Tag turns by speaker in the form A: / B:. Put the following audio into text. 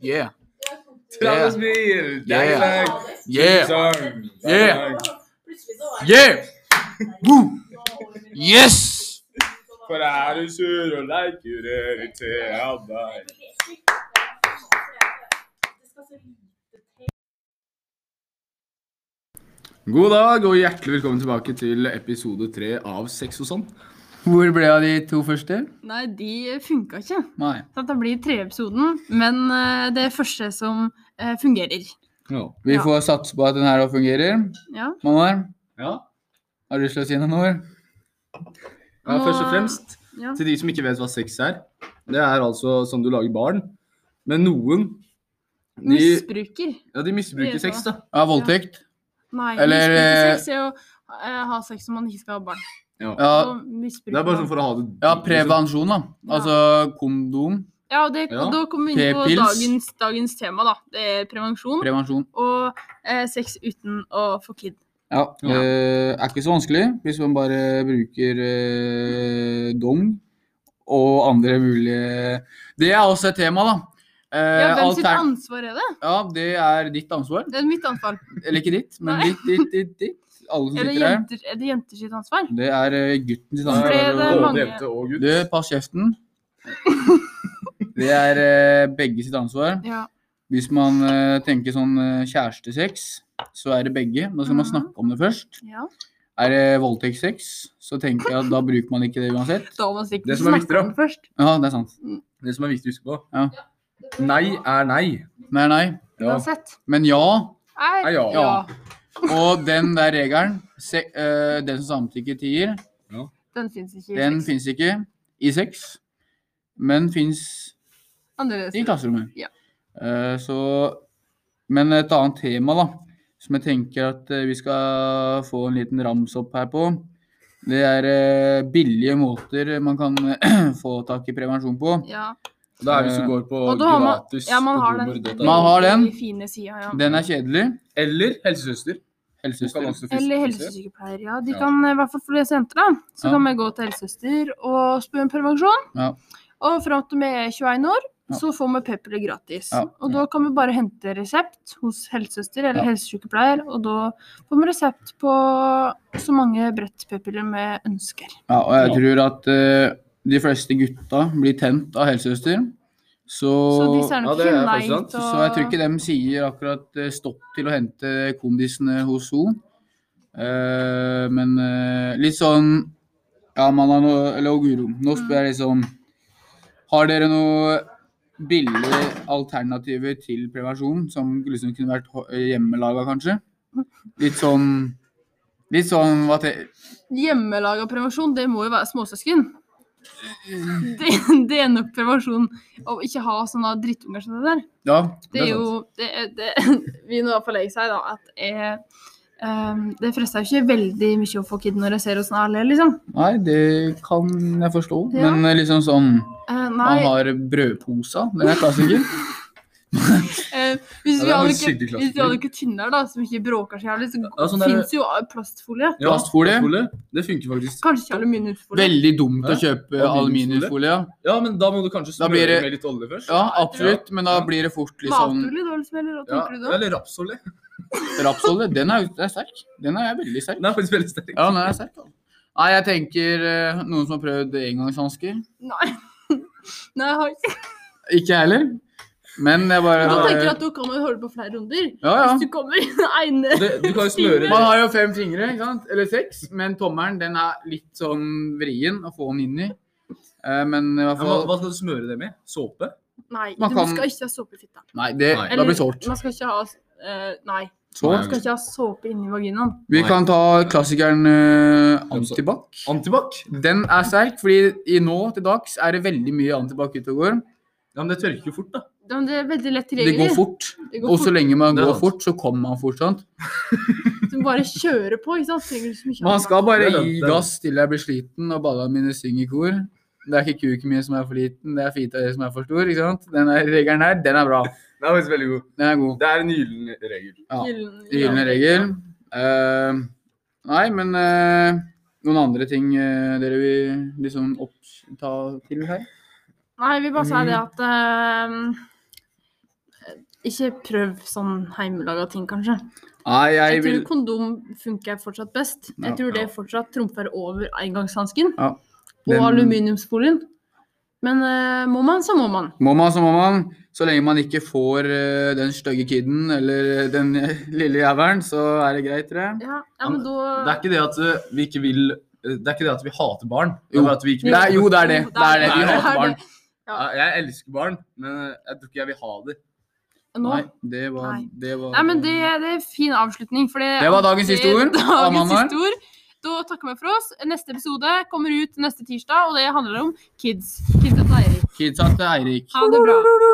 A: Yeah.
B: Travis Bier,
A: Yeah. Yeah.
B: Song.
A: Yeah.
B: Song.
A: Yeah. Woo. Yes.
B: But I just don't like you there, it's a alibi.
A: God dag og hjertelig velkommen tilbake til episode tre av Sex og sånn. Hvor ble av de to første?
C: Nei, de funka ikke.
A: Nei.
C: Så dette blir treepisoden, men eh, det første som eh, fungerer.
D: Vi
C: Ja.
D: får satse på at den her også fungerer.
C: Ja.
D: Manuel,
A: Ja.
D: har du lyst til å si noen ord?
A: ja. Først og fremst,
C: Ja.
A: til de som ikke vet hva sex er. Det er altså sånn du lager barn. Men noen de,
C: Misbruker.
A: ja, de misbruker
C: Det er
A: sex, da.
D: Ja, voldtekt.
C: Nei,
D: Eller,
C: misbruker sex er å eh, ha sex når man ikke skal ha barn.
D: Ja,
C: Så misbruker
A: Det er bare
C: man.
A: sånn for å ha det liksom,
D: ja prevensjon, da. Altså kondom,
C: Ja, og, det,
A: Ja.
C: og da kommer vi inn på
D: P-pils.
C: dagens, dagens tema, da. Det er prevensjon
D: prevensjon.
C: og eh, sex uten å få kid.
D: Ja,
A: Ja.
D: eh, er ikke så vanskelig hvis man bare bruker eh, dong og andre mulige Det er også et tema, da. Eh,
C: Ja, hvem sitt
D: altern-
C: ansvar er det?
D: ja, det er ditt ansvar.
C: Det er mitt ansvar.
D: Eller ikke ditt, men
C: Nei.
D: ditt, ditt, ditt, ditt. Alle som
C: Eller
D: sitter her.
C: jenter, er det jenter sitt ansvar?
D: Det er eh, gutten sitt
A: Nei,
D: ansvar.
C: Fordi det er
A: både
C: mange-
A: jente og gutt.
D: Du, pass kjeften. Det er eh, begge sitt ansvar.
C: Ja.
D: Hvis man eh, tenker sånn eh, kjærestesex, så er det begge. Da skal man
C: Mhm.
D: snakke om det først.
C: ja.
D: Er det voldtektssex, så tenker jeg at da bruker man ikke det uansett.
C: Da må man sikkert
A: Det som er viktig,
C: snakke
A: da.
C: om det først.
D: Ja, det er sant.
A: Det som er viktig å huske på.
D: Ja.
A: Nei er nei.
D: Nei, nei.
A: Ja.
C: Uansett.
D: Men ja.
C: Er,
A: Er ja.
D: Ja. Og den der regelen, se, eh, den som samtykker tier,
C: Den fins ikke i
D: den
C: sex.
D: fins ikke i sex, men fins
C: Annerledes.
D: i klasserommet.
C: Ja.
D: Eh, så Men et annet tema, da, som jeg tenker at eh, vi skal få en liten rams opp her på, det er eh, billige måter man kan få tak i prevensjon på.
C: Ja.
A: Det er hvis du går på
C: Og da har man,
A: gratis
C: ja, man
A: på
C: har den.
A: humor.no.
D: Eh, Man har den.
C: veldig Fine sida, ja.
D: Den er kjedelig.
A: Eller helsesøster. Du kan
D: Helsesøster.
A: også fiske-
C: Eller helsesykepleier, ja. De
A: Ja.
C: kan, eh, i hvert fall for disse jenter, da, så
D: Ja.
C: kan vi gå til helsesøster og spørre om prevensjon.
D: Ja.
C: Og fram til vi er 21 år,
D: Ja.
C: så får vi p-piller gratis.
D: Ja.
C: Og da kan vi bare hente resept hos helsesøster eller
D: Ja.
C: helsesykepleier, og da får vi resept på så mange brett p-piller vi ønsker.
D: Ja, og jeg tror at eh, de fleste gutta blir tent av helsesøster, så
C: Så disse er nok
A: Ja, det er
C: ikke nei
A: faktisk sant.
C: til
D: Så jeg tror ikke de sier akkurat eh, stopp til å hente kondisene hos henne. Eh, men eh, litt sånn Ja, Manna nå, eller og Guro, nå spør
C: Mm.
D: jeg liksom Har dere noe billige alternativer til prevensjon som liksom kunne vært ho- hjemmelaga, kanskje? Litt sånn Litt sånn hva te...
C: Hjemmelaga prevensjon, det må jo være småsøsken. Det, det er nok prevensjon å ikke ha sånne drittunger som det der.
D: Ja,
C: Det er
D: sant.
C: jo det, er- det, Vi nå får legge seg, da, at jeg, ehm, det frister jo ikke veldig mye å få kid når jeg ser åssen alle er, liksom.
D: Nei, det kan jeg forstå,
C: Ja.
D: men eh, liksom sånn
C: Eh,
D: Man
C: nei,
D: har brødposa, den er klassiker.
C: eh, hvis
A: Ja,
C: vi
A: det var en
C: hadde noe-
A: skikkelig
C: hvis vi hadde noe tynnere, da, som ikke bråker så jævlig, så
A: Ja, sånn der-
C: fins jo plastfolie.
A: Ja,
D: Plastfolie.
A: Det funker faktisk.
C: Kanskje ikke aluminiumsfolie.
D: Veldig dumt å
A: Hæ?
D: kjøpe
A: Aluminiumsfolie?
D: aluminiumsfolie. ja.
A: Ja, men da må du kanskje
D: Da
A: smøre
D: blir det-
A: med litt olje først.
D: Ja, absolutt, men da
A: Ja.
D: blir det fort litt sånn
C: Matolje, da, liksom? Eller hva
A: Ja,
C: tenker du da?
A: eller rapsolje.
D: rapsolje. Den er, den er sterk. Den er veldig sterk.
A: Den er faktisk veldig sterk.
D: Ja, den er sterk. altså. Nei, jeg tenker eh, noen som har prøvd engangshansker.
C: Nei. Nei, jeg har ikke
D: Ikke jeg heller, men jeg bare
C: Da tenker jeg at du kan jo holde på flere runder.
D: Ja, ja.
C: Hvis du kommer i den ene
A: Det, du kan jo smøre
D: Man har jo fem fingre, ikke sant? eller seks, men tommelen den er litt sånn vrien å få den inn i. Eh, Men i
A: ja,
D: hvert
A: hva,
D: fall
A: hva skal du smøre det med? Såpe?
C: Nei,
D: Man
C: du
D: kan-
C: skal ikke ha såpe i fitta.
D: Nei, det,
A: Nei.
D: da blir det sårt.
C: Man skal ikke ha eh, Nei.
D: Så,
A: Nei.
C: Man skal ikke ha såpe inni vaginaen.
D: vi
A: Nei.
D: kan ta klassikeren eh, antibac.
A: Antibac?
D: Den er sterk, fordi i nå til dags er det veldig mye antibac ute og går.
A: Ja, men det tørker jo fort, da.
C: Ja, men Det er veldig lett
D: Det
C: tilgjengelig.
D: går fort.
C: Det går
D: Og så
C: fort.
D: lenge man
A: Det er
D: går
A: sant.
D: fort, så kommer man fort. sant?
C: Du bare kjører på, ikke sant. Trenger du så mye
D: Man skal bare
A: Det er sant,
D: gi
A: det er
D: gass til jeg blir sliten og balla mine synger i kor. Det er ikke kuken min som er for liten, det er fita di som er for stor. ikke sant? Den her regelen her, den er bra.
B: Den er faktisk veldig god.
D: Den er god.
B: Det er en gyllen regel.
D: Ja.
C: Gyllen-
D: Gylne regel. Eh, nei, men eh, noen andre ting eh, dere vil liksom oppta til her?
C: Nei, jeg vil bare si
D: Mm.
C: det at eh, Ikke prøv sånn hjemmelaga ting, kanskje.
D: Nei, jeg
C: Jeg tror
D: vil
C: kondom funker fortsatt best.
D: Ja,
C: Jeg tror det fortsatt trumfer over engangshansken
D: Ja, den-
C: og aluminiumsfolien. Men eh, må man, så må man.
D: Må man, så må man. Så lenge man ikke får eh, den stygge kiden eller den eh, lille jævelen, så er det greit, tror jeg.
C: Ja, ja men da
A: Det er ikke det at eh, vi ikke vil eh, Det er ikke det at vi hater barn. Det
D: Jo.
A: er bare at vi ikke vil
D: Det er, jo, det er det. Det er det. Vi
A: Det er det.
D: hater barn.
A: Ja, Jeg elsker barn, men eh, jeg tror ikke jeg vil ha det.
C: Nå.
D: Nei, det var,
C: Nei.
D: det var
C: Nei, men det, det er fin avslutning. For det,
D: Det var dagens siste ord.
C: Det er Dagens
D: Amanda.
C: siste ord. Da takker vi for oss. Neste episode kommer ut neste tirsdag, og det handler om kids. Kids og Eirik.
D: Kidsa til Eirik.
C: Ha det bra.